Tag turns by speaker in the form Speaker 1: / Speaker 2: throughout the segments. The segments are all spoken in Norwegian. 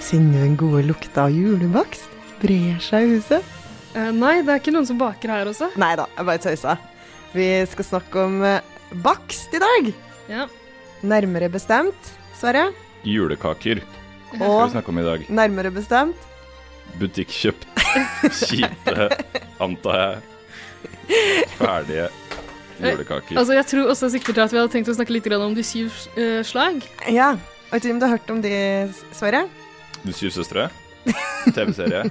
Speaker 1: Kjenner du den gode lukta av julebakst? Brer seg i huset?
Speaker 2: Eh, nei, det er ikke noen som baker her også.
Speaker 1: Nei da, jeg bare tøysa. Vi skal snakke om eh, bakst i dag.
Speaker 2: Ja.
Speaker 1: Nærmere bestemt, Sverre.
Speaker 3: Julekaker skal vi
Speaker 1: Og
Speaker 3: snakke om i dag.
Speaker 1: nærmere bestemt
Speaker 3: Butikkjøpt. Kjipe, antar jeg. Ferdige julekaker.
Speaker 2: Altså, jeg tror også sikkert at vi hadde tenkt å snakke litt grann om de syv eh, slag.
Speaker 1: Ja. Vet du om du har hørt om de, Sverre?
Speaker 3: De syv søstre. TV-serie.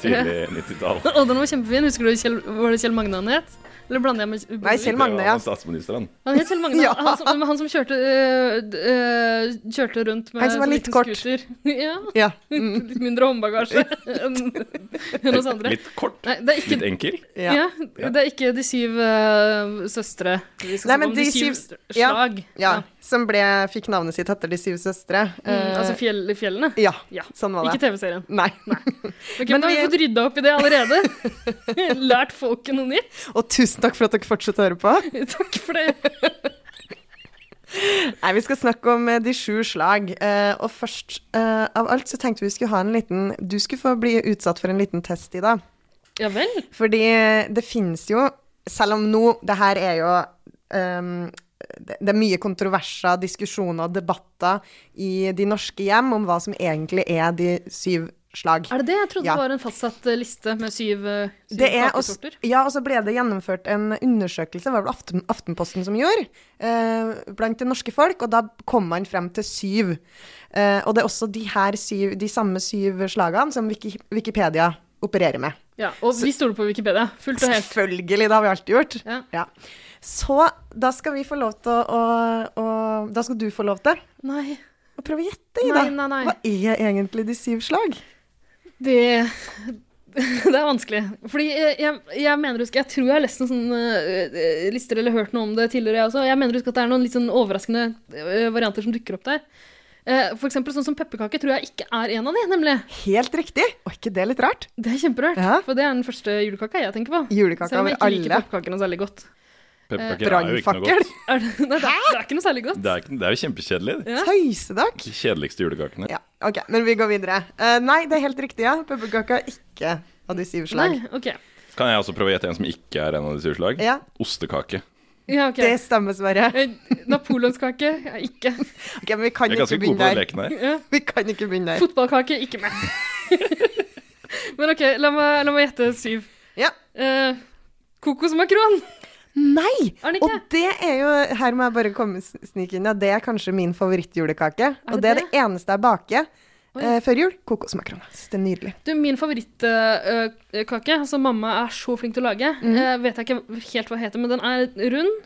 Speaker 3: Tidlig 90-tall.
Speaker 2: Og den var kjempefin. Husker du Kjell, var det Kjell Magne han het? Eller blander jeg med
Speaker 1: Nei, Kjell
Speaker 3: Det
Speaker 1: Magne,
Speaker 3: var
Speaker 1: ja.
Speaker 3: han Statsministeren.
Speaker 2: Han het Kjell Magne.
Speaker 1: Ja.
Speaker 2: han, som, men han som kjørte, eh, d- eh, kjørte rundt med
Speaker 1: Han som var
Speaker 2: sånn
Speaker 1: litt
Speaker 2: liten
Speaker 1: kort. Mm.
Speaker 2: scooter. ja.
Speaker 1: Ja.
Speaker 2: Litt mindre håndbagasje enn enn oss andre.
Speaker 3: Litt kort,
Speaker 2: Nei, det er ikke
Speaker 3: litt enkel.
Speaker 2: ja.
Speaker 1: Ja.
Speaker 2: det er ikke De syv eh, søstre. Vi skal
Speaker 1: Nei,
Speaker 2: snakke
Speaker 1: men
Speaker 2: om
Speaker 1: De
Speaker 2: De syv
Speaker 1: syv- ja.
Speaker 2: slag.
Speaker 1: ja. Som ble, fikk navnet sitt etter De syv søstre.
Speaker 2: Mm,
Speaker 1: Eh,
Speaker 2: altså fjell, fjellene.
Speaker 1: ja,
Speaker 2: Ja.
Speaker 1: sånn var det.
Speaker 2: Ikke TV-serien.
Speaker 1: Nei.
Speaker 2: Ok, men
Speaker 1: Men
Speaker 2: da har vi
Speaker 1: vi-
Speaker 2: fått rydda opp i det allerede. Lært folket noe nytt.
Speaker 1: Og tusen takk for at dere fortsetter å høre på.
Speaker 2: Takk for det.
Speaker 1: Nei, Vi skal snakke om eh, de sju slag. Eh, og først eh, av alt så tenkte vi skulle ha en liten Du skulle få bli utsatt for en liten test i dag.
Speaker 2: Ja vel.
Speaker 1: Fordi eh, det finnes jo Selv om nå Det her er jo ehm, det det er mye kontroverser, diskusjoner og debatter i de norske hjem om hva som egentlig er de syv slag.
Speaker 2: Er det det? Jeg trodde
Speaker 1: Ja.
Speaker 2: det var en fastsatt eh, liste med syv, eh, syv
Speaker 1: Det er også,
Speaker 2: kakesorter.
Speaker 1: ja, og så ble det gjennomført en undersøkelse, det var vel Aften, Aftenposten som gjorde, eh, blant det norske folk, og da kom man frem til syv. Eh, og det er også de, her syv, de samme syv slagene som Wiki, Wikipedia opererer med.
Speaker 2: Ja, og vi stoler på Wikipedia. Fullt og helt.
Speaker 1: Selvfølgelig, det har vi alltid gjort.
Speaker 2: Ja.
Speaker 1: Så da skal vi få lov til å, å, å Da skal du få lov til
Speaker 2: Nei,
Speaker 1: å prøve å gjette, Ida.
Speaker 2: nei, nei. nei.
Speaker 1: Hva er egentlig de syv slag?
Speaker 2: Det, det er vanskelig. Fordi jeg, jeg, jeg mener husk, jeg tror jeg har lest noen sånne eh, lister eller hørt noe om det tidligere, jeg også. Jeg mener husk at det er noen litt sånn overraskende eh, varianter som dukker opp der. Eh, For eksempel sånn som pepperkake tror jeg ikke er en av de, nemlig.
Speaker 1: Helt riktig. Og ikke det litt rart?
Speaker 2: Det er kjemperørt,
Speaker 1: Ja.
Speaker 2: for det er den første julekaka jeg tenker på.
Speaker 1: Julekaka
Speaker 2: Selv om
Speaker 1: over
Speaker 2: jeg ikke liker
Speaker 1: alle.
Speaker 2: pepperkaker noe særlig godt.
Speaker 3: Pepperkaker er jo ikke noe
Speaker 1: Brannfakkel.
Speaker 3: godt.
Speaker 2: Er det, nei, det, er, det er ikke noe særlig godt.
Speaker 3: Det er, ikke, det er jo kjempekjedelig.
Speaker 2: Ja.
Speaker 1: Tøyse dere?
Speaker 3: De kjedeligste julekakene.
Speaker 1: Ja, OK, men vi går videre. Eh, nei, det er helt riktig, ja. Pepperkaka er ikke av de syv slag.
Speaker 2: Nei, ok.
Speaker 3: Kan jeg også prøve å gjette en som ikke er en av de syv slag?
Speaker 1: Ja,
Speaker 3: Ostekake.
Speaker 2: Ja, ok.
Speaker 1: det stemmer, Sverre.
Speaker 2: Eh, Napoleonskake ja, ikke.
Speaker 1: Ok, men vi kan
Speaker 3: Jeg er
Speaker 1: ikke
Speaker 3: ganske god
Speaker 1: begynne
Speaker 3: på
Speaker 1: der.
Speaker 3: leken her.
Speaker 2: Ja.
Speaker 1: Vi kan ikke begynne der.
Speaker 2: Fotballkake ikke med. Men ok, la meg, la meg gjette syv.
Speaker 1: Ja.
Speaker 2: Eh, kokosmakron,
Speaker 1: Nei!
Speaker 2: er den
Speaker 1: Og
Speaker 2: ikke?
Speaker 1: det er jo Her må jeg bare komme s- snike inn. Ja. Det er kanskje min favorittjulekake. Og det er det eneste jeg baker
Speaker 2: Oi.
Speaker 1: eh, før jul. Kokosmakroner. Syns det er nydelig.
Speaker 2: Du, min favorittkake, som mamma er så flink til å lage, eh, vet jeg ikke helt hva heter, men den er rund.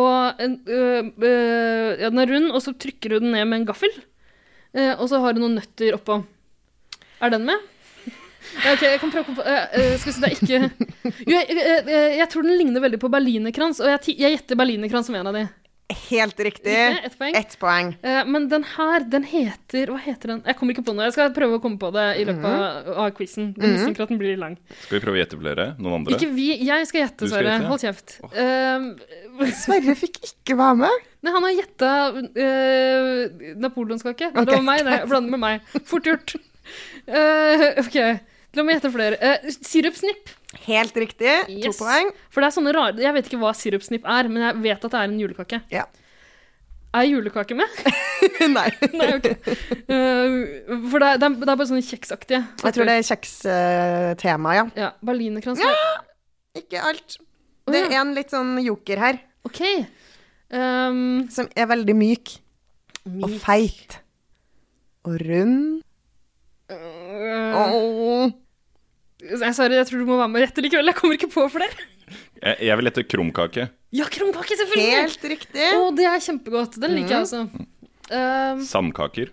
Speaker 2: Og en, eh, eh, ja, den er rund, og så trykker du den ned med en gaffel. eh, og så har du noen nøtter oppå. Er den med? Ja, ok, jeg kan prøve å komp- eh, eh, Skal vi si det er ikke Jo, jeg, eh, eh, jeg tror den ligner veldig på berlinerkrans, og jeg, ti- jeg gjetter berlinerkrans som en av de.
Speaker 1: Helt riktig.
Speaker 2: Riktig, ett poeng.
Speaker 1: Ett poeng.
Speaker 2: Eh, men den her, den heter Hva heter den? Jeg kommer ikke på noe. Jeg skal prøve å komme på det i løpet
Speaker 1: Mhm.
Speaker 2: av, av quizen. Jeg mistenker at den blir lang.
Speaker 3: Skal vi prøve å gjette flere? Noen andre?
Speaker 2: Ikke vi. Jeg skal gjette,
Speaker 3: Du skal
Speaker 2: Sverre.
Speaker 3: gjette, ja.
Speaker 2: Hold kjeft. Eh,
Speaker 1: Sverre fikk ikke være med.
Speaker 2: nei, han har gjetta eh, napoleonskake.
Speaker 1: Ok,
Speaker 2: Det var meg, det. Blander med meg. Fort gjort. Eh, OK. La meg gjette flere. Eh, sirupsnipp.
Speaker 1: Helt riktig. To
Speaker 2: Yes.
Speaker 1: poeng.
Speaker 2: For det er sånne rare Jeg vet ikke hva sirupsnipp er, men jeg vet at det er en julekake.
Speaker 1: Ja.
Speaker 2: Er julekake med?
Speaker 1: Nei.
Speaker 2: Nei, ok. Eh, for det er, det er det er bare sånne kjeksaktige.
Speaker 1: Jeg tror det er kjekstema, ja.
Speaker 2: Ja, berlinerkrans.
Speaker 1: Ikke alt.
Speaker 2: Å,
Speaker 1: Det
Speaker 2: ja.
Speaker 1: er en litt sånn joker her,
Speaker 2: Ok. Ehm,
Speaker 1: som er veldig myk og
Speaker 2: myk.
Speaker 1: feit. Og rund.
Speaker 2: Øh,
Speaker 1: Åh.
Speaker 2: jeg, sorry, jeg tror du må være med og gjette likevel. Jeg kommer ikke på flere.
Speaker 3: Jeg, jeg vil gjette krumkake.
Speaker 2: Ja, krumkake, selvfølgelig!
Speaker 1: Helt riktig.
Speaker 2: Å, det er kjempegodt. Den liker jeg også.
Speaker 1: Mm.
Speaker 2: Ehm,
Speaker 3: Sandkaker.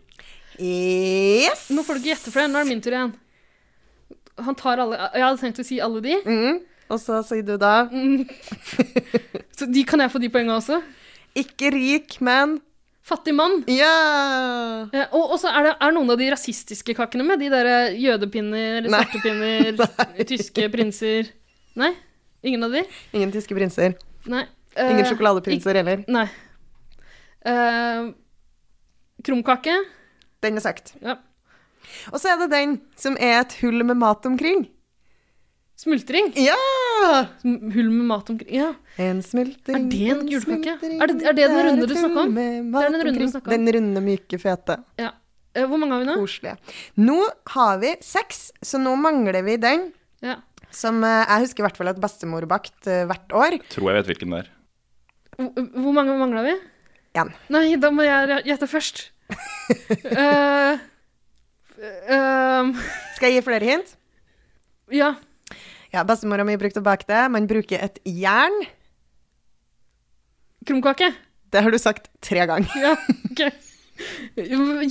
Speaker 1: Yes.
Speaker 2: nå får du ikke gjette for det. Nå er det min tur igjen. Han tar alle Jeg hadde tenkt å si alle de. Mm.
Speaker 1: Mm. Og så sier du da
Speaker 2: Så de, kan jeg få de poengene også?
Speaker 1: Ikke rik, men
Speaker 2: Fattig mann.
Speaker 1: Ja!
Speaker 2: Eh, og og så er det er noen av de rasistiske kakene med. De derre jødepinner,
Speaker 1: Nei.
Speaker 2: svartepinner, tyske prinser Nei? Ingen av de?
Speaker 1: Ingen tyske prinser.
Speaker 2: Nei.
Speaker 1: Ingen
Speaker 2: Eh,
Speaker 1: sjokoladeprinser heller.
Speaker 2: Nei. Eh, krumkake.
Speaker 1: Den er søkt.
Speaker 2: Ja.
Speaker 1: Og så er det den som er et hull med mat omkring.
Speaker 2: Smultring.
Speaker 1: Ja!
Speaker 2: Sm- Hull med mat omkring. Ja.
Speaker 1: En smultring
Speaker 2: Er det en julekake?
Speaker 1: smultring,
Speaker 2: Er det- er det den
Speaker 1: er
Speaker 2: runde
Speaker 1: et
Speaker 2: du
Speaker 1: hull
Speaker 2: snakket om?
Speaker 1: med mat
Speaker 2: Det er den runde du
Speaker 1: omkring.
Speaker 2: snakket om.
Speaker 1: Den runde, myke, fete.
Speaker 2: ja. Eh, Hvor mange har vi nå?
Speaker 1: Koselige. Nå har vi seks, så nå mangler vi den
Speaker 2: Ja.
Speaker 1: som eh, jeg husker i hvert fall at bestemor bakt eh, hvert år.
Speaker 3: Tror jeg vet hvilken det er.
Speaker 2: Hvor hvor mange mangla vi?
Speaker 1: En.
Speaker 2: Nei, da må jeg gjette først. Eh, ehm,
Speaker 1: Skal jeg gi flere hint?
Speaker 2: ja.
Speaker 1: Ja, bestemora mi brukte å bake det. Man bruker et jern.
Speaker 2: Krumkake.
Speaker 1: Det har du sagt tre ganger.
Speaker 2: Ja, ok.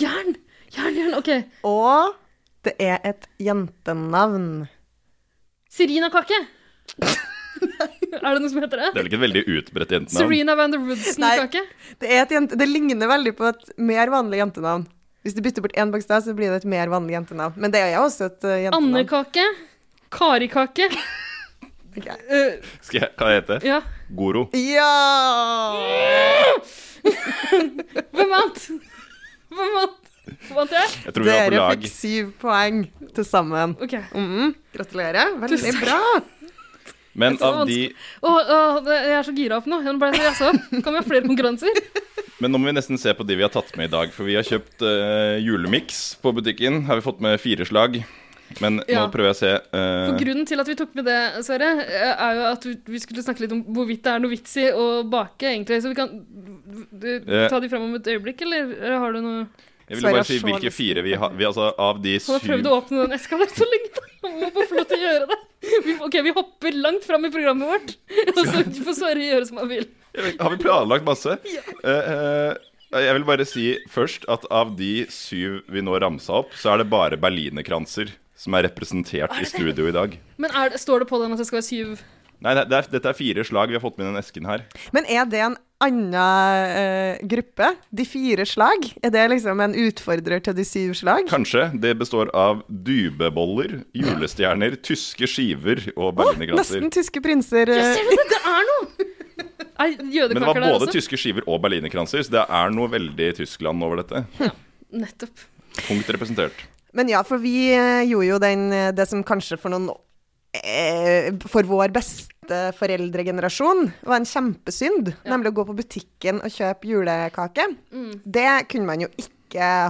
Speaker 2: Jern! Jern, jern, ok.
Speaker 1: Og det er et jentenavn.
Speaker 2: Serena-kake. er det noe som heter
Speaker 3: Det
Speaker 2: det?
Speaker 3: er vel ikke et veldig utbredt jentenavn?
Speaker 2: Serena van der
Speaker 1: Nei.
Speaker 2: Woodson-kake?
Speaker 1: Det, er et jente, det ligner veldig på et mer vanlig jentenavn. Hvis du bytter bort én bokstav, så blir det et mer vanlig jentenavn. Men det er jo også et uh, jentenavn.
Speaker 2: Anne-kake? Kari-kake?
Speaker 1: Ok.
Speaker 2: Eh,
Speaker 3: Skal jeg, hva heter det?
Speaker 2: ja.
Speaker 3: Goro.
Speaker 1: Ja!
Speaker 2: Hvem vant? Hvem vant? Vant jeg?
Speaker 3: Jeg tror vi var på
Speaker 1: Dere
Speaker 3: lag.
Speaker 1: fikk syv poeng til sammen.
Speaker 2: Ok.
Speaker 1: Mm, gratulerer. Veldig
Speaker 2: Tusen
Speaker 1: bra.
Speaker 3: Men
Speaker 2: Jeg tror det
Speaker 3: av
Speaker 2: var
Speaker 3: de
Speaker 2: Åh, åh, det- jeg er så gira opp nå. Jeg ble så jazza opp. Kan vi ha flere konkurranser?
Speaker 3: Men nå må vi nesten se på de vi har tatt med i dag, for vi har kjøpt uh, julemiks på butikken. Har vi fått med fire slag. Men
Speaker 2: Ja.
Speaker 3: nå prøver jeg å se eh,
Speaker 2: For grunnen til at vi tok med det, Sverre, eh, er jo at vi- vi skulle snakke litt om hvorvidt det er noe vits i å bake, egentlig. Så vi kan du,
Speaker 3: Eh.
Speaker 2: ta de fram om et øyeblikk, eller eller har du noe
Speaker 3: Jeg ville bare
Speaker 1: Sverre
Speaker 3: si
Speaker 1: har så
Speaker 3: hvilke
Speaker 1: lyst til
Speaker 3: fire vi har. Vi, altså, av de
Speaker 2: Han har prøvd
Speaker 3: syv
Speaker 2: å åpne den eska der så lenge. Han må bare få lov til å gjøre det. Vi, ok, vi hopper langt fram i programmet vårt, og så får Sverre gjøre som han vil.
Speaker 3: Jeg vet- Har vi planlagt masse? Eh, eh, jeg vil bare si først at av de syv vi nå ramsa opp, så er det bare berlinerkranser som er representert i studio i dag.
Speaker 2: Men er, det- står det på den at det skal være syv
Speaker 3: Nei, det er, det er- dette er fire slag vi har fått med i den esken her.
Speaker 1: Men er det en annen eh, gruppe? De fire slag? Er det liksom en utfordrer til de syv slag?
Speaker 3: Kanskje. Det består av dybeboller, julestjerner, tyske skiver og berlinerkranser.
Speaker 1: Nesten tyske prinser. eh,
Speaker 2: Jeg ser det, det er noe! Er
Speaker 3: Men det var
Speaker 2: jødekaker der
Speaker 3: både
Speaker 1: altså.
Speaker 2: også?
Speaker 3: tyske skiver og berlinerkranser, så det er noe veldig Tyskland over dette.
Speaker 2: Nettopp.
Speaker 3: Tungt representert.
Speaker 1: Men ja, for vi eh, gjorde jo den, eh, det som kanskje for noen eh, For vår beste foreldregenerasjon var en kjempesynd, nemlig å gå på butikken og kjøpe julekake. Det kunne man jo ikke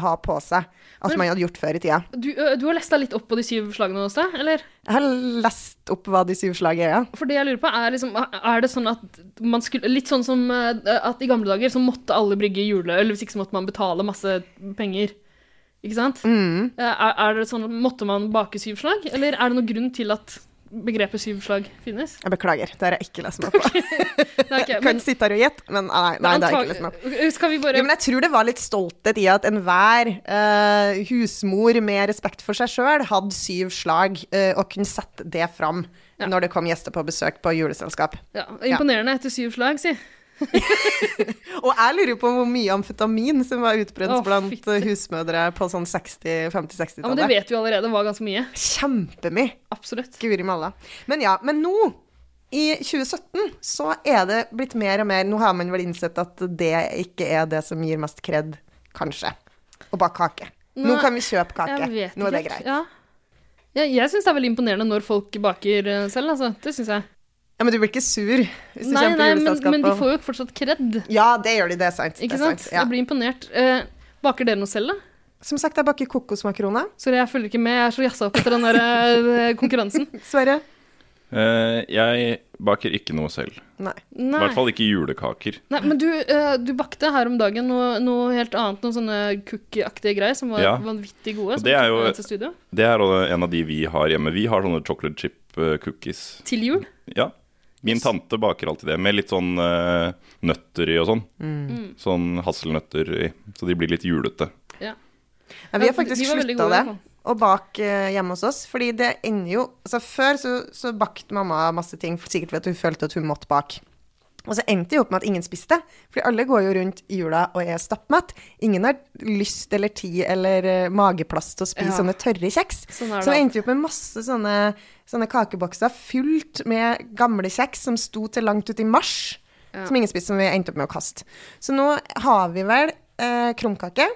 Speaker 1: ha på seg at
Speaker 2: Mm. Men-
Speaker 1: man hadde gjort før i tida.
Speaker 2: Du, ø, du har lest deg litt opp på de syv slagene også, eller?
Speaker 1: Jeg har lest opp hva de syv slag er, ja.
Speaker 2: For det jeg lurer på er liksom Er det sånn at man skulle Litt sånn som eh, at i gamle dager så måtte alle brygge juleøl, hvis ikke så måtte man betale masse penger. Ikke sant?
Speaker 1: Mm.
Speaker 2: Eh, Er, er det sånn at Måtte man bake syv slag, eller er det noen grunn til at begrepet syv slag finnes?
Speaker 1: Jeg beklager, det har jeg ikke lest meg opp på.
Speaker 2: Nei, ok,
Speaker 1: Jeg
Speaker 2: men-
Speaker 1: kan sitte her og gjette, men nei, nei, det har jeg ikke lest meg opp på.
Speaker 2: Antag- Eh, Skal vi bare
Speaker 1: Jo, men jeg tror det var litt stolthet i at enhver eh, husmor med respekt for seg sjøl hadde syv slag, eh, og kunne sette det fram
Speaker 2: Ja.
Speaker 1: når det kom gjester på besøk på juleselskap.
Speaker 2: ja, Imponerende etter syv slag, si.
Speaker 1: Og jeg lurer på hvor mye amfetamin som var utbredt
Speaker 2: Å,
Speaker 1: blant
Speaker 2: fytti.
Speaker 1: eh, husmødre på sånn 60-, 50-60-tallet.
Speaker 2: Ja, men det vet vi allerede var ganske mye.
Speaker 1: Kjempemye.
Speaker 2: Absolutt.
Speaker 1: Guri malla. Men ja, men nå, i 2017, så er det blitt mer og mer Nå har man vel innsett at det ikke er det som gir mest kred, kanskje. Å bake kake. Nå
Speaker 2: Nei,
Speaker 1: kan vi kjøpe kake.
Speaker 2: Jeg vet
Speaker 1: Nå er det
Speaker 2: ikke.
Speaker 1: greit.
Speaker 2: Ja. Jeg, jeg syns det er veldig imponerende når folk baker eh, selv, altså. Det syns jeg.
Speaker 1: Ja, men du blir ikke sur hvis du
Speaker 2: Nei,
Speaker 1: kommer på
Speaker 2: nei, men,
Speaker 1: juleselskapet.
Speaker 2: men de får jo fortsatt kred.
Speaker 1: Ja, det gjør de, det er sant.
Speaker 2: Ikke
Speaker 1: det er
Speaker 2: sant?
Speaker 1: sant. Ja.
Speaker 2: Jeg blir imponert. Eh, baker dere noe selv, da?
Speaker 1: Som sagt, jeg baker kokosmakroner.
Speaker 2: Sorry, jeg følger ikke med. Jeg er så jazza opp etter den der eh, konkurransen.
Speaker 1: Sverre?
Speaker 3: Eh, jeg baker ikke noe selv.
Speaker 1: Nei.
Speaker 3: I
Speaker 2: Nei.
Speaker 3: hvert fall ikke julekaker.
Speaker 2: Nei, men du, eh, du bakte her om dagen noe, noe helt annet, noen sånne cookieaktige greier som var
Speaker 3: Ja.
Speaker 2: vanvittig gode.
Speaker 3: Og
Speaker 2: som
Speaker 3: det
Speaker 2: vi
Speaker 3: er
Speaker 2: tok
Speaker 3: jo-
Speaker 2: med til, studio.
Speaker 3: Det er også en av de vi har hjemme. Vi har sånne chocolate chip eh, cookies.
Speaker 2: til jul.
Speaker 3: Ja. Min tante baker alltid det, med litt sånn eh, nøtter i og sånn. Sånn hasselnøtter i, så de blir litt julete.
Speaker 1: Nei, vi
Speaker 2: Ja,
Speaker 1: har faktisk
Speaker 2: de var veldig
Speaker 1: slutta
Speaker 2: gode,
Speaker 1: det
Speaker 2: i hvert fall.
Speaker 1: å bake eh, hjemme hos oss, fordi det ender jo altså Før så, så bakte mamma masse ting, sikkert fordi hun følte at hun måtte bake. Og så endte det jo opp med at ingen spiste, fordi alle går jo rundt i jula og er stappmett. Ingen har lyst eller tid eller eh, mageplass til å spise
Speaker 2: Ja.
Speaker 1: sånne tørre kjeks.
Speaker 2: Sånn er det
Speaker 1: så vi
Speaker 2: alltid.
Speaker 1: endte jo opp med masse sånne, sånne kakebokser fylt med gamle kjeks som sto til langt ut i mars,
Speaker 2: Ja.
Speaker 1: som ingen spiste, som vi endte opp med å kaste. Så nå har vi vel eh, krumkake.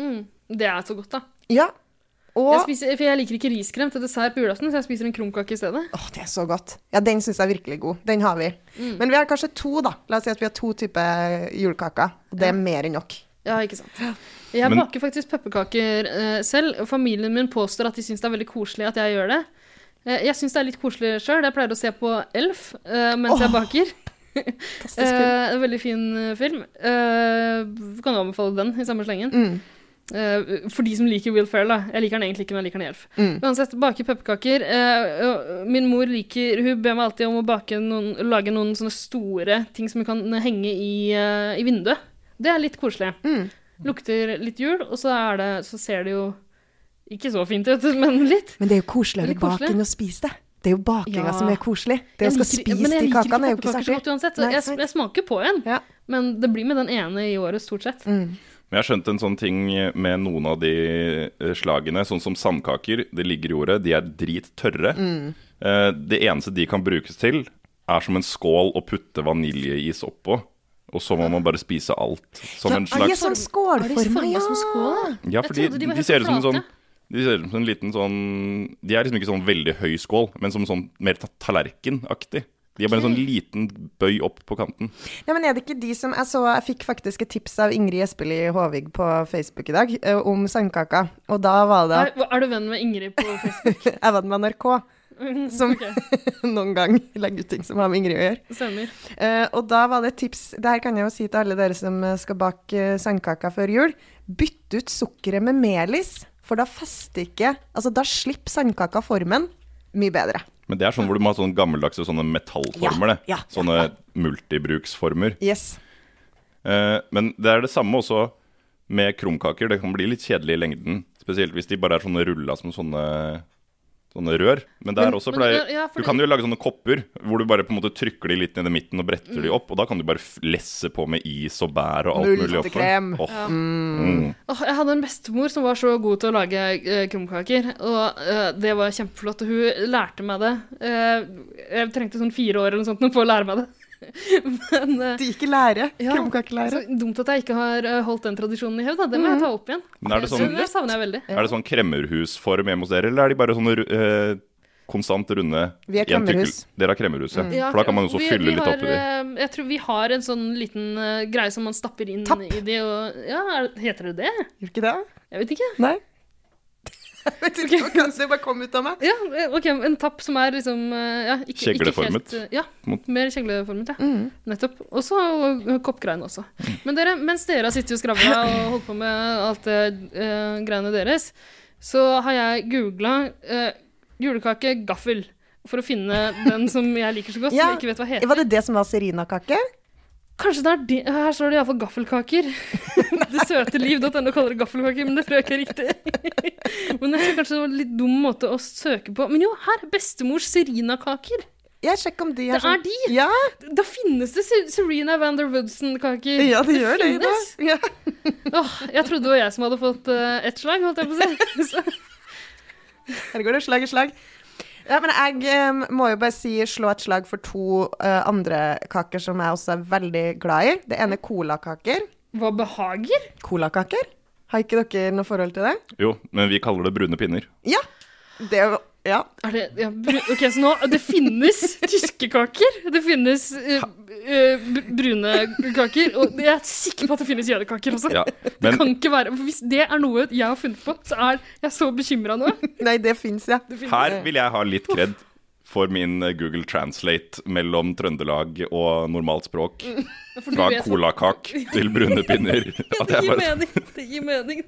Speaker 2: Mm. Det er så godt, da.
Speaker 1: Ja. Og
Speaker 2: Jeg spiser, for jeg liker ikke riskrem til dessert på julaften, så jeg spiser en krumkake i stedet.
Speaker 1: Åh, det er så godt. Ja, den syns jeg er virkelig god. Den har vi.
Speaker 2: Mm.
Speaker 1: Men vi har kanskje to, da. La oss si at vi har to typer julekaker. Og det er mer enn nok.
Speaker 2: Ja, ikke sant. Jeg
Speaker 3: Men-
Speaker 2: baker faktisk pepperkaker eh, selv. og Familien min påstår at de syns det er veldig koselig at jeg gjør det. Eh, jeg syns det er litt koselig sjøl. Jeg pleier å se på Elf eh, mens jeg baker.
Speaker 1: Fantastisk
Speaker 2: Eh,
Speaker 1: film.
Speaker 2: en veldig fin eh, film. Eh, kan anbefale den i samme slengen.
Speaker 1: Mm.
Speaker 2: Eh, for de som liker Will Ferrell, da. Jeg liker han egentlig ikke, men jeg liker han i Elf.
Speaker 1: Mm.
Speaker 2: Uansett, bake pepperkaker. Eh, og min mor liker Hun ber meg alltid om å bake noen, lage noen sånne store ting som hun kan henge i, eh, i vinduet. Det er litt koselig.
Speaker 1: Mm.
Speaker 2: Lukter litt jul, og så, er det, så ser det jo ikke så fint ut, men litt.
Speaker 1: Men det er jo koseligere
Speaker 2: Veldig
Speaker 1: bak
Speaker 2: koselig.
Speaker 1: enn å spise det. Det er jo bakinga
Speaker 2: Ja.
Speaker 1: som er koselig. Det å
Speaker 2: Jeg
Speaker 1: skal
Speaker 2: liker-
Speaker 1: spise
Speaker 2: men jeg
Speaker 1: de
Speaker 2: liker ikke
Speaker 1: kakene er jo ikke
Speaker 2: pepperkaker så
Speaker 1: særlig
Speaker 2: godt uansett.
Speaker 1: Nei,
Speaker 2: jeg,
Speaker 1: sant.
Speaker 2: jeg smaker på en,
Speaker 1: Ja.
Speaker 2: men det blir med den ene i året, stort sett.
Speaker 1: mm.
Speaker 3: Men jeg har skjønt en sånn ting med noen av de eh, slagene, sånn som sandkaker. De ligger i ordet, de er drittørre. Eh, Det eneste de kan brukes til, er som en skål å putte vaniljeis oppå. Og så må man bare spise alt. Som en
Speaker 1: Ja, jeg
Speaker 3: slags
Speaker 1: er sånn skålforma, ja.
Speaker 2: som skål, da?
Speaker 3: Ja,
Speaker 2: ah, Jeg
Speaker 3: for de,
Speaker 2: trodde de var
Speaker 3: de
Speaker 2: helt
Speaker 3: ser ut som en
Speaker 2: flate.
Speaker 3: sånn de ser ut som en liten sånn De er liksom ikke sånn veldig høy skål, men som sånn mer ta- tallerkenaktig. De er bare en sånn liten bøy opp på kanten.
Speaker 1: Ja, men er det ikke de som Jeg så, jeg fikk faktisk et tips av Ingrid Espelid Håvig på Facebook i dag eh, om sandkaker. Og da var det at
Speaker 2: Er, er du venn med Ingrid på Facebook?
Speaker 1: jeg var med NRK, som
Speaker 2: Ok,
Speaker 1: noen gang legger ut ting som har med Ingrid å gjøre.
Speaker 2: stemmer.
Speaker 1: Eh, og da var det et tips Det her kan jeg jo si til alle dere som eh, skal bake eh, sandkaker før jul. Bytt ut sukkeret med melis, for da fester ikke Altså, da slipper sandkaka formen mye bedre.
Speaker 3: Men det er sånn hvor du må ha sånne gammeldagse sånne metallformer. det.
Speaker 1: Ja, ja,
Speaker 3: sånne multibruksformer.
Speaker 1: Yes.
Speaker 3: Eh, men det er det samme også med krumkaker. Det kan bli litt kjedelig i lengden. Spesielt hvis de bare er sånne rulla som sånne, sånne rør. Men der
Speaker 2: Men-
Speaker 3: også
Speaker 2: men-
Speaker 3: pleier
Speaker 2: ja, for
Speaker 3: Du
Speaker 2: det-
Speaker 3: kan jo lage sånne kopper hvor du bare på en måte trykker de litt ned i midten og bretter
Speaker 2: Mm.
Speaker 3: de opp. Og da kan du bare f- lesse på med is og bær og alt mulig oppå.
Speaker 1: Multekrem.
Speaker 3: Åh,
Speaker 1: Mm.
Speaker 3: mm.
Speaker 2: Åh, jeg hadde en bestemor som var så god til å lage uh, krumkaker, og eh, det var kjempeflott. Og hun lærte meg det. Eh, jeg trengte sånn fire år eller noe sånt nå på å lære meg det. Men eh,
Speaker 1: Det gikk i lære.
Speaker 2: Ja, så
Speaker 1: Krumkakelære.
Speaker 2: dumt at jeg ikke har eh, holdt den tradisjonen i hevd. da. Det må jeg ta opp igjen.
Speaker 3: Men Mhm. er det
Speaker 2: Så
Speaker 3: sånn-
Speaker 2: det savner jeg veldig.
Speaker 3: Er det sånn kremmerhusform hjemme hos dere, eller er de bare sånne ru- eh, konstant runde
Speaker 1: Vi er
Speaker 3: i en tykkel-
Speaker 1: kremmerhus.
Speaker 3: Dere har kremmerhus, ja.
Speaker 2: Mm. Ja,
Speaker 3: Mm. For da kan man også
Speaker 2: vi-
Speaker 3: fylle
Speaker 2: vi
Speaker 3: litt
Speaker 2: har,
Speaker 3: oppi de.
Speaker 2: eh, Jeg tror vi har en sånn liten eh, greie som man stapper inn
Speaker 1: Tapp.
Speaker 2: i de, og Ja, er, heter det det?
Speaker 1: Gjorde ikke det?
Speaker 2: Jeg vet ikke.
Speaker 1: Nei. Jeg vet ikke hva kan- det bare kom ut av meg.
Speaker 2: Ja, eh, ok, en tapp som er liksom eh, ja, ikke,
Speaker 3: Kjegleformet.
Speaker 2: Ikke helt, eh, ja,
Speaker 3: Mot-
Speaker 2: mer kjegleformet, ja.
Speaker 1: Mm.
Speaker 2: Nettopp. Og så eh, koppgreiene også. Men dere, mens dere har sittet og skravla og holdt på med alt det eh, greiene deres, så har jeg googla julekake gaffel for å finne den som jeg liker så godt, som
Speaker 1: Ja.
Speaker 2: jeg ikke vet hva heter.
Speaker 1: Var det det som var serinakake?
Speaker 2: Kanskje det er de, Her står det iallfall gaffelkaker. det søte liv.no kaller det gaffelkaker, men det tror jeg ikke er riktig. men jeg tror kanskje det var en litt dum måte å søke på. Men jo, her! Bestemors serinakaker.
Speaker 1: Jeg sjekker om de
Speaker 2: Det
Speaker 1: sånn-
Speaker 2: er de!
Speaker 1: Ja,
Speaker 2: Da finnes det Se- Serena van der Woodson-kaker.
Speaker 1: ja, de gjør det i dag.
Speaker 2: finnes.
Speaker 1: Ja.
Speaker 2: Åh, jeg trodde det var jeg som hadde fått eh, ett slag, holdt jeg på å si. Så-
Speaker 1: Her går det slag i slag. Ja, men jeg eh, må jo bare si slå et slag for to eh, andre kaker som jeg også er veldig glad i. Det ene er colakaker.
Speaker 2: Hva behager?
Speaker 1: Colakaker? Har ikke dere noe forhold til det?
Speaker 3: Jo, men vi kaller det brune pinner.
Speaker 1: Ja. Det er jo Ja.
Speaker 2: Er det, ja, bru- ok, så nå, Det finnes tyske kaker. Det finnes eh, eh, br- brune kaker. Og jeg er sikker på at det finnes jødekaker også.
Speaker 3: Ja.
Speaker 2: Det
Speaker 3: Men
Speaker 2: kan ikke være, for Hvis det er noe jeg har funnet på, så er jeg så bekymra nå.
Speaker 1: Nei, det fins, ja.
Speaker 3: Her vil jeg ha litt kred for min eh, Google Translate mellom Trøndelag og normalt språk.
Speaker 2: For du
Speaker 3: Fra
Speaker 2: vet-
Speaker 3: colakak til brune pinner. At
Speaker 2: Det
Speaker 3: jeg
Speaker 2: gir
Speaker 3: bare,
Speaker 2: mening. Det gir mening.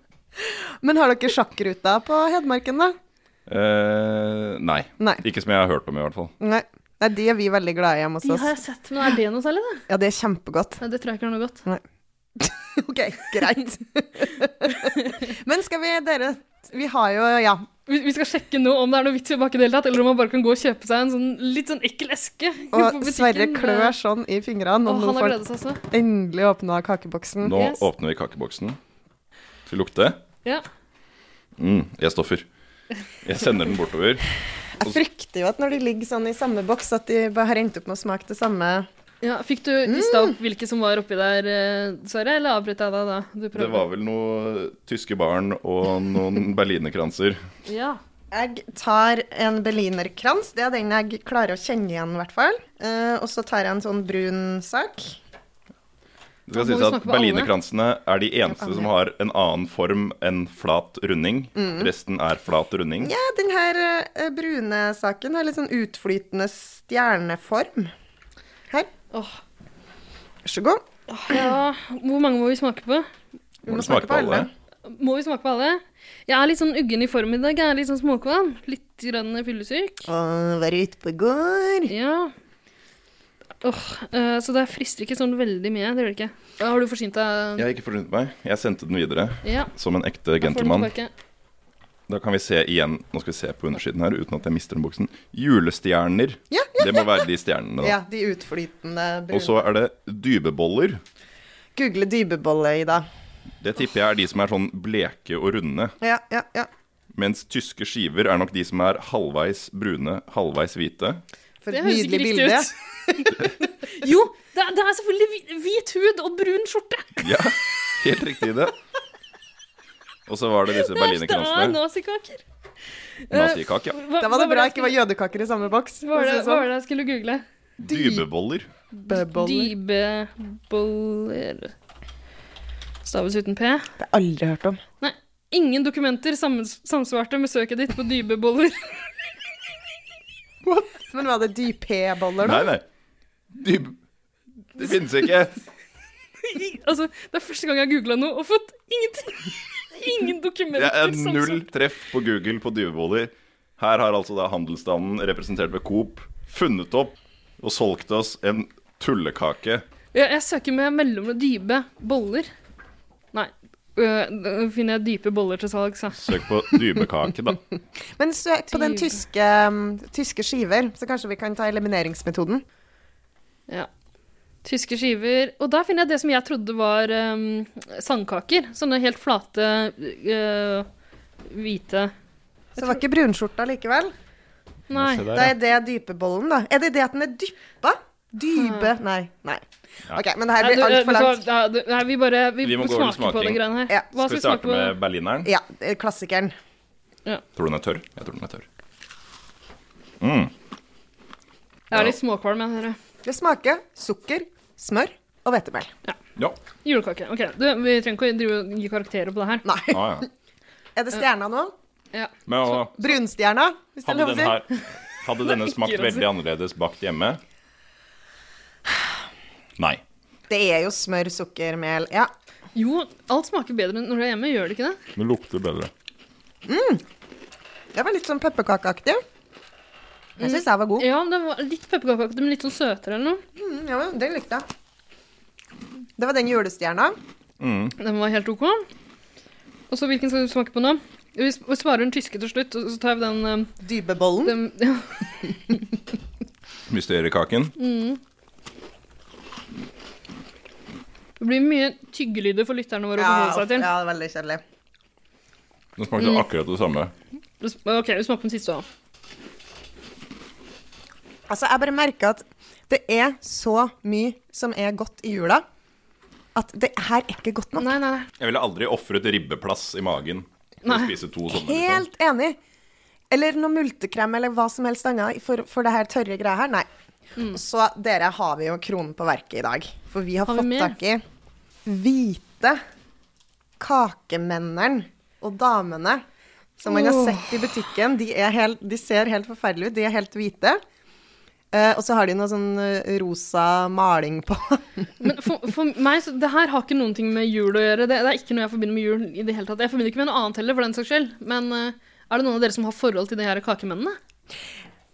Speaker 1: Men har dere sjakkruta på Hedmarken, da?
Speaker 3: Eh, nei.
Speaker 1: Nei.
Speaker 3: Ikke som jeg har hørt om, i hvert fall.
Speaker 1: Nei. Nei, de er vi veldig glade i hjemme hos
Speaker 2: De har
Speaker 1: oss.
Speaker 2: jeg sett, men er det noe særlig, da?
Speaker 1: Ja, det er kjempegodt.
Speaker 2: Nei, det tror jeg ikke er noe godt.
Speaker 1: OK, greit. Men skal vi, dere Vi har jo, ja.
Speaker 2: Vi, vi skal sjekke nå om det er noe vits i å bake i det hele tatt, eller om man bare kan gå og kjøpe seg en sånn litt sånn ekkel eske eh,
Speaker 1: Og Sverre klør sånn i fingrene
Speaker 2: Å,
Speaker 1: om
Speaker 2: han
Speaker 1: noen
Speaker 2: har
Speaker 1: folk
Speaker 2: gledet seg så.
Speaker 1: endelig åpna kakeboksen.
Speaker 3: Nå
Speaker 2: Mm, Yes.
Speaker 3: åpner vi kakeboksen. Skal vi lukte?
Speaker 2: Ja.
Speaker 3: Mm, jeg stoffer. Jeg sender den bortover.
Speaker 1: Jeg frykter jo at når de ligger sånn i samme boks, at de bare har endt opp med å smake det samme
Speaker 2: Ja, fikk du lista opp hvilke som var oppi der, eh, Sverre? Eller avbrøt jeg deg da? Du prøvde.
Speaker 3: Det var vel noen tyske barn og noen berlinerkranser.
Speaker 2: Ja.
Speaker 1: Jeg tar en berlinerkrans. Det er den jeg klarer å kjenne igjen, i hvert fall. Eh, og så tar jeg en sånn brun sak.
Speaker 3: Det skal
Speaker 2: Da må
Speaker 3: sies
Speaker 2: vi
Speaker 3: at
Speaker 2: snakke med alle.
Speaker 3: Berlinerkransene er de eneste som har en annen form enn flat runding.
Speaker 2: Mm.
Speaker 3: Resten er flat runding.
Speaker 1: Ja, den her eh, brune saken har litt sånn utflytende stjerneform. Her.
Speaker 2: Åh.
Speaker 1: Vær så god.
Speaker 2: ja. Hvor mange må vi smake på?
Speaker 1: Vi
Speaker 3: Må
Speaker 1: må
Speaker 3: du smake
Speaker 1: smake
Speaker 3: på
Speaker 1: på alle.
Speaker 3: alle?
Speaker 2: Må vi smake på alle? Jeg er litt sånn uggen i form i dag. Jeg er litt sånn småkvalm. Litt grann fyllesyk.
Speaker 1: Å, være ute på gård.
Speaker 2: Ja. Åh, eh, så det frister ikke sånn veldig mye. Det gjør det ikke. Ja, Har du forsynt deg?
Speaker 3: Jeg har ikke forsynt meg. Jeg sendte den videre
Speaker 2: Ja.
Speaker 3: som en ekte
Speaker 2: da får du den
Speaker 3: gentleman.
Speaker 2: tilbake.
Speaker 3: Da kan vi se igjen Nå skal vi se på undersiden her uten at jeg mister den buksen. Julestjerner.
Speaker 1: Ja,
Speaker 3: Det må være de stjernene, da.
Speaker 1: Ja, de utflytende
Speaker 3: Og
Speaker 1: brune.
Speaker 3: så er det dybeboller.
Speaker 1: Google dybebolle, Ida.
Speaker 3: Det tipper jeg er de som er sånn bleke og runde.
Speaker 1: Ja, ja, ja.
Speaker 3: Mens tyske skiver er nok de som er halvveis brune, halvveis hvite.
Speaker 1: For et
Speaker 2: Det høres ikke
Speaker 1: nydelig
Speaker 2: riktig
Speaker 1: bilde.
Speaker 2: ut. jo, det er, det er selvfølgelig hvi- hvit hud og brun skjorte.
Speaker 3: Ja, helt riktig det. Og så var det disse
Speaker 2: Det er Eh,
Speaker 3: berlinerkransene.
Speaker 2: nazikaker.
Speaker 3: Nazikake, ja.
Speaker 2: Hva-
Speaker 1: Da
Speaker 2: hva
Speaker 1: var det bra
Speaker 2: jeg
Speaker 1: ikke var jødekaker i samme boks.
Speaker 2: Hva var det, hva var det jeg skulle google?
Speaker 3: Dybeboller.
Speaker 1: Dybeboller.
Speaker 2: Dybeboller Staves uten P.
Speaker 1: Det har jeg aldri hørt om.
Speaker 2: Nei, ingen dokumenter sammens- samsvarte med søket ditt på dybeboller.
Speaker 1: Men var det dypeboller, da?
Speaker 3: Nei, nei. Dyb... Det finnes ikke.
Speaker 2: altså, det er første gang jeg har googla noe og fått ingenting. Ingen dokumenter.
Speaker 3: Det er null
Speaker 2: samsvarte.
Speaker 3: treff på Google på dybeboller. Her har altså da handelsstanden, representert ved Coop, funnet opp og solgt oss en tullekake.
Speaker 2: Ja, jeg søker med mellom dype boller. Nei, øh, da finner jeg dype boller til salgs. da.
Speaker 3: Søk på dybekake, da.
Speaker 1: Men søk på den
Speaker 2: Dybe.
Speaker 1: tyske, mm, tyske skiver, så kanskje vi kan ta elimineringsmetoden.
Speaker 2: Ja. Tyske skiver. Og da finner jeg det som jeg trodde var øhm, sandkaker. Sånne helt flate, øh, hvite
Speaker 1: Så det var ikke brunskjorta likevel.
Speaker 2: Nei.
Speaker 3: Se der,
Speaker 1: Da
Speaker 3: ja.
Speaker 1: er det dypebollen, da. Er det det at den er dyppa? Dybe Nei. nei. OK, men det her
Speaker 2: Nei,
Speaker 1: blir
Speaker 2: du,
Speaker 1: altfor
Speaker 2: vet du
Speaker 1: langt.
Speaker 2: hva, ja, du- Nei, vi bare vi
Speaker 3: Vi må gå over
Speaker 2: smaker
Speaker 3: til
Speaker 2: på
Speaker 3: smaking.
Speaker 2: den greia her.
Speaker 1: Ja.
Speaker 2: Hva
Speaker 3: Skal vi
Speaker 2: vi smake
Speaker 3: starte
Speaker 2: på?
Speaker 3: med berlineren?
Speaker 1: Ja, eh, klassikeren.
Speaker 3: Tror du den er tørr? Jeg tror den er tørr.
Speaker 2: Jeg er litt småkvalm, jeg, dere.
Speaker 1: Det smaker sukker, smør og hvetemel.
Speaker 3: Ja.
Speaker 2: Julekake. Ok, du, vi trenger ikke å drive og gi karakterer på det her.
Speaker 1: Nei.
Speaker 3: Ah, ja.
Speaker 1: Er det stjerna nå?
Speaker 2: Ja.
Speaker 3: Men hva-
Speaker 1: Brunstjerna, hvis det er
Speaker 3: Hadde,
Speaker 1: lov å
Speaker 3: den
Speaker 1: si.
Speaker 3: her, hadde denne
Speaker 2: ikke
Speaker 3: smakt
Speaker 2: lov å si.
Speaker 3: veldig annerledes bakt hjemme? Nei.
Speaker 1: Det er jo smør, sukker, mel. Ja.
Speaker 2: Jo, alt smaker bedre når du er hjemme, gjør det ikke det?
Speaker 3: Det lukter bedre.
Speaker 1: Det var litt sånn pepperkakeaktig. Jeg syns jeg var god.
Speaker 2: Ja, det var litt pepperkakeaktig, men litt sånn søtere eller noe.
Speaker 1: Mm, ja, men den likte jeg. Det var den julestjerna.
Speaker 2: Den var helt ok. Og så hvilken skal du smake på nå? Vi sp- vi sparer den tyske til slutt, og så tar vi den, eh,
Speaker 1: Dybebollen.
Speaker 2: den
Speaker 3: Mysteriekaken.
Speaker 2: Det blir mye tyggelyder for lytterne våre å
Speaker 1: Ja,
Speaker 2: forholde seg
Speaker 1: ja,
Speaker 2: til.
Speaker 1: det er veldig kjedelig.
Speaker 3: Den smakte
Speaker 2: Mm.
Speaker 3: akkurat det samme.
Speaker 2: Du sm- Ok, vi smaker den siste òg.
Speaker 1: Altså, jeg bare merker at det er så mye som er godt i jula, at det her er ikke godt nok.
Speaker 2: Nei, nei, nei.
Speaker 3: Jeg ville aldri ofret ribbeplass i magen for å
Speaker 2: Nei.
Speaker 3: spise to sånne. liksom.
Speaker 1: Helt enig. Eller noe multekrem eller hva som helst annet for, for det her tørre greia her. Nei. Så dere har vi jo kronen på verket i dag. For vi har,
Speaker 2: Mm. Har vi
Speaker 1: fått
Speaker 2: mer?
Speaker 1: tak i hvite kakemennene og damene som man har
Speaker 2: Åh.
Speaker 1: sett i butikken. De, er helt, de ser helt forferdelige ut. De er helt hvite. Eh, og så har de noe sånn eh, rosa maling på.
Speaker 2: Men for, for meg, så, det her har ikke noen ting med jul å gjøre. Det, det er ikke noe jeg forbinder med jul i det hele tatt. Jeg forbinder ikke med noe annet heller, for den saks skyld. Men eh, er det noen av dere som har forhold til de her kakemennene?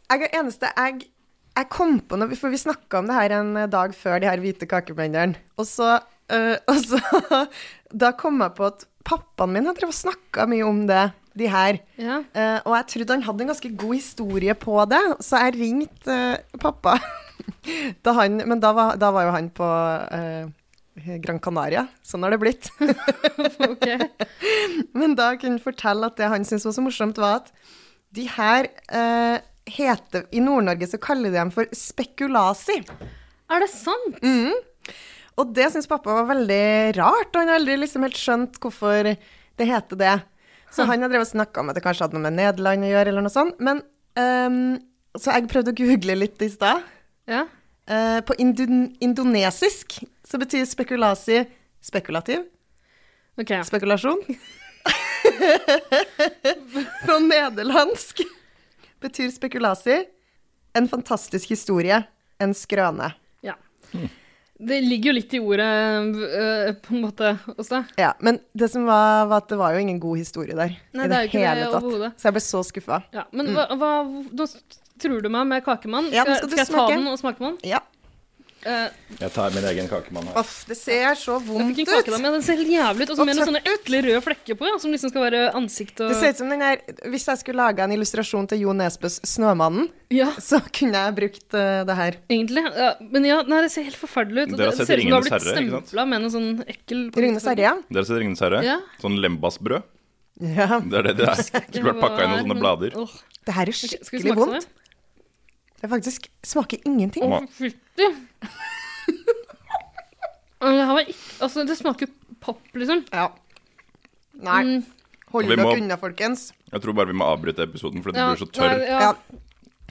Speaker 1: Jeg er eneste jeg, jeg kom på noe, for vi snakka om det her en dag før de her hvite kakebenderne. Og så, øh, og så Da kom jeg på at pappaen min har snakka mye om det, de her.
Speaker 2: Ja.
Speaker 1: Eh, og jeg trodde han hadde en ganske god historie på det, så jeg ringte eh, pappa. da han, men da var, da var jo han på eh, Gran Canaria. Sånn har det blitt.
Speaker 2: Ok.
Speaker 1: Men da kunne jeg fortelle at det han syntes var så morsomt, var at de her eh, heter I Nord-Norge så kaller de dem for spekulasi.
Speaker 2: Er det sant?
Speaker 1: Og det syns pappa var veldig rart, og han har aldri liksom helt skjønt hvorfor det heter det. Så han har drevet og snakka om at det kanskje hadde noe med Nederland å gjøre, eller noe sånt. Men ehm, Så jeg prøvde å google litt i stad.
Speaker 2: Ja.
Speaker 1: Eh, på indon indonesisk så betyr spekulasi spekulativ.
Speaker 2: Ok.
Speaker 1: Spekulasjon. på nederlandsk betyr spekulasi en fantastisk historie, en skrøne.
Speaker 2: Ja. Det ligger jo litt i ordet, øh, på en måte, også.
Speaker 1: Ja, men det som var, var at det var jo ingen god historie der. i
Speaker 2: Nei, det
Speaker 1: det,
Speaker 2: er jo ikke det
Speaker 1: hele tatt.
Speaker 2: overhodet.
Speaker 1: Så jeg ble så skuffa.
Speaker 2: Ja, men hva, hva, nå s- tror du meg med kakemann.
Speaker 1: Mm.
Speaker 2: Eh,
Speaker 1: Ja, den
Speaker 2: skal
Speaker 1: skal du
Speaker 2: skal jeg ta
Speaker 1: smake.
Speaker 2: den og smake på den?
Speaker 1: Ja.
Speaker 2: Eh,
Speaker 3: Jeg tar min egen kakemann her.
Speaker 1: Uff, det ser så
Speaker 2: jeg
Speaker 1: vondt
Speaker 2: fikk en
Speaker 1: ut.
Speaker 2: kake da, men den ser helt jævlig ut. Og så
Speaker 1: Og
Speaker 2: med noen sånne
Speaker 1: tørt ut.
Speaker 2: ekle røde flekker på, ja, som liksom skal være ansikt og
Speaker 1: Det ser ut som den der Hvis jeg skulle laga en illustrasjon til Jo Nesbøs 'Snømannen',
Speaker 2: Ja,
Speaker 1: så kunne jeg brukt eh, det her.
Speaker 2: egentlig. Ja, men ja, nei, det ser helt forferdelig ut. og
Speaker 3: Dere har
Speaker 2: det-
Speaker 3: sett
Speaker 2: det ser ut som du har
Speaker 3: Ringenes
Speaker 2: blitt
Speaker 3: Herre, ikke sant?
Speaker 2: stempla med noe sånn ekkel
Speaker 1: Ringenes herre, ja.
Speaker 3: Dere ser Ringenes herre?
Speaker 2: Ja.
Speaker 3: Sånn lembasbrød?
Speaker 1: ja.
Speaker 3: Det er det det er. Skulle vært pakka inn i noen sånne blader.
Speaker 2: Åh,
Speaker 1: Det her er
Speaker 2: ok, skal vi
Speaker 1: skikkelig
Speaker 2: smake på
Speaker 1: vondt.
Speaker 2: det?
Speaker 1: Det faktisk smaker ingenting.
Speaker 3: Åh.
Speaker 2: Å, fytti! Åh, Det her var ikke Altså, det smaker pop, liksom.
Speaker 1: Ja. Nei.
Speaker 2: Mm,
Speaker 1: Hold
Speaker 3: Vi
Speaker 1: dere
Speaker 3: må-
Speaker 1: unna, folkens.
Speaker 3: Jeg tror bare vi må avbryte episoden, for det
Speaker 2: ja,
Speaker 3: blir så tørr.
Speaker 2: nei,
Speaker 1: Ja.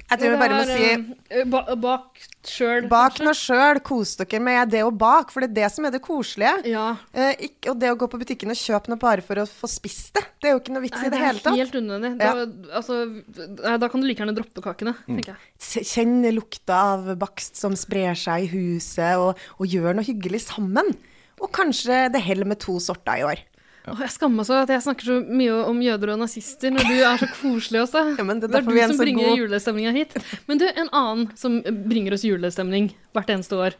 Speaker 1: Jeg tror vi bare må
Speaker 2: Det
Speaker 1: si
Speaker 2: er, eh, ba- Bak sjøl.
Speaker 1: Bak nå sjøl, kos dere med det å bake, for det er det som er det koselige.
Speaker 2: Ja.
Speaker 1: Eh, ikke, og det å gå på butikken og kjøpe noe bare for å få spist det, det er jo ikke noe vits
Speaker 2: Nei,
Speaker 1: i det
Speaker 2: er
Speaker 1: hele tatt.
Speaker 2: Helt unødvendig. Da, altså, nei, da kan du like gjerne droppe kakene, tenker jeg.
Speaker 1: Se- Kjenn lukta av bakst som sprer seg i huset, og, og gjør noe hyggelig sammen. Og kanskje det heller med to sorter i år.
Speaker 2: Åh, jeg skammer meg så at jeg snakker så mye om jøder og nazister når du er så koselig også.
Speaker 1: Ja, men det er
Speaker 2: det er
Speaker 1: derfor
Speaker 2: du
Speaker 1: vi er en så
Speaker 2: som bringer
Speaker 1: god-
Speaker 2: julestemninga hit. Men du, en annen som bringer oss julestemning hvert eneste år,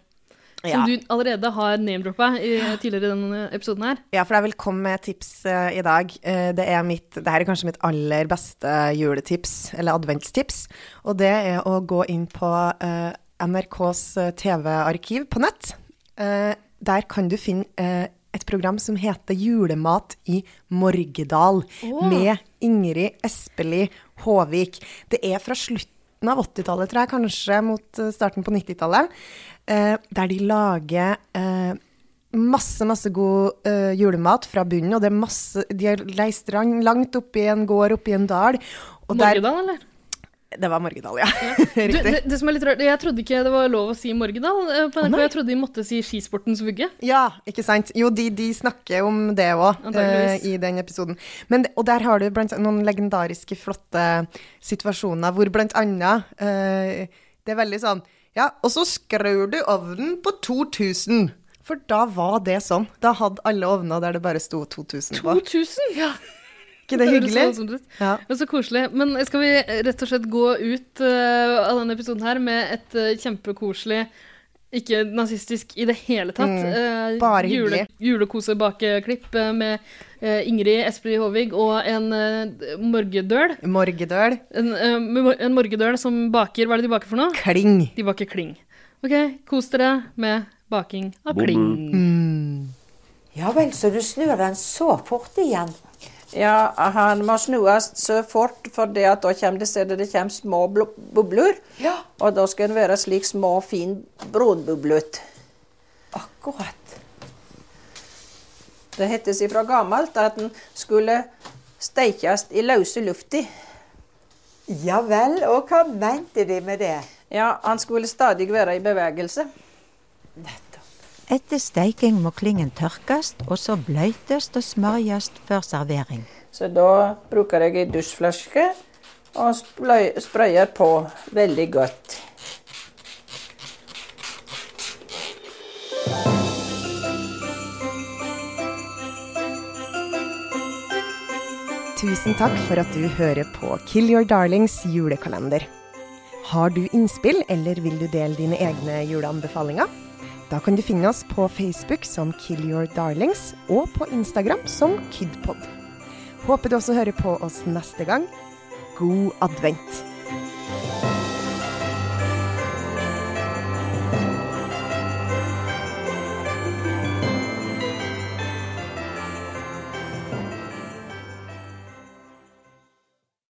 Speaker 1: Ja.
Speaker 2: som du allerede har name-droppa i- tidligere i denne episoden her.
Speaker 1: Ja, for jeg vil komme med et tips eh, i dag. Eh, det er mitt, det her er kanskje mitt aller beste juletips, eller adventstips. Og det er å gå inn på eh, NRKs eh, TV-arkiv på nett. Eh, der kan du finne eh, et program som heter Julemat i Morgedal, med Ingrid Espelid Håvik. Det er fra slutten av 80-tallet, tror jeg, kanskje mot eh, starten på 90-tallet, eh, der de lager eh, Masse, masse god eh, julemat fra bunnen, og det er masse De har reist lang- langt oppi en gård oppi en dal. Og der,
Speaker 2: Morgedal, eller?
Speaker 1: det var Morgedal, ja.
Speaker 2: Du,
Speaker 1: Riktig.
Speaker 2: det, det som er litt rart, Jeg trodde ikke det var lov å si Morgedal. eh, På NRK,
Speaker 1: nei.
Speaker 2: jeg trodde de måtte si skisportens vugge.
Speaker 1: Ja, ikke sant. Jo, de, de snakker om det òg
Speaker 2: Antageligvis.
Speaker 1: i den episoden. Men, det- og der har du blant annet noen legendariske, flotte situasjoner hvor blant annet eh, Det er veldig sånn Ja, og så skrur du ovnen på 2000. For da var det sånn. Da hadde alle ovner der det bare sto 2000 på.
Speaker 2: 2000! Ja.
Speaker 1: Ikke det
Speaker 2: høres
Speaker 1: hyggelig?
Speaker 2: voldsomt ut.
Speaker 1: Ja.
Speaker 2: Men så koselig. Men skal vi rett og slett gå ut eh, av denne episoden her med et eh, kjempekoselig ikke nazistisk i det hele tatt. eh,
Speaker 1: Mm. bare hyggelig.
Speaker 2: Julekosebakeklipp eh, med eh, Ingrid Espelid Håvig og en eh, morgedøl.
Speaker 1: Morgedøl.
Speaker 2: En, eh, med mor- en morgedøl som baker Hva er det de baker for noe?
Speaker 1: Kling.
Speaker 2: De baker kling. OK, kos dere med baking av
Speaker 3: Boom,
Speaker 2: kling.
Speaker 4: Ja vel, så du snur den så fort igjen.
Speaker 5: Ja, han må snues så fort, for det at da kommer det stedet det kommer små blo- bobler.
Speaker 4: Ja.
Speaker 5: Og da skal den være slik små, fin brunbublet.
Speaker 4: Akkurat.
Speaker 5: Det hettes ifra gammelt at den skulle steikes i løse lufta.
Speaker 4: Ja vel, og hva mente de med det?
Speaker 5: Ja, han skulle stadig være i bevegelse.
Speaker 6: Etter steiking må klingen tørkes, og så bløtes og smørjes før servering.
Speaker 5: Så da bruker jeg ei dusjflaske og spløy- sprøyer på veldig godt.
Speaker 1: Tusen takk for at du hører på Kill Your Darlings julekalender. Har du innspill, eller vil du dele dine egne juleanbefalinger? Da kan du finne oss på Facebook som Kill Your Darlings, og på Instagram som Kidpod. Håper du også hører på oss neste gang. God advent!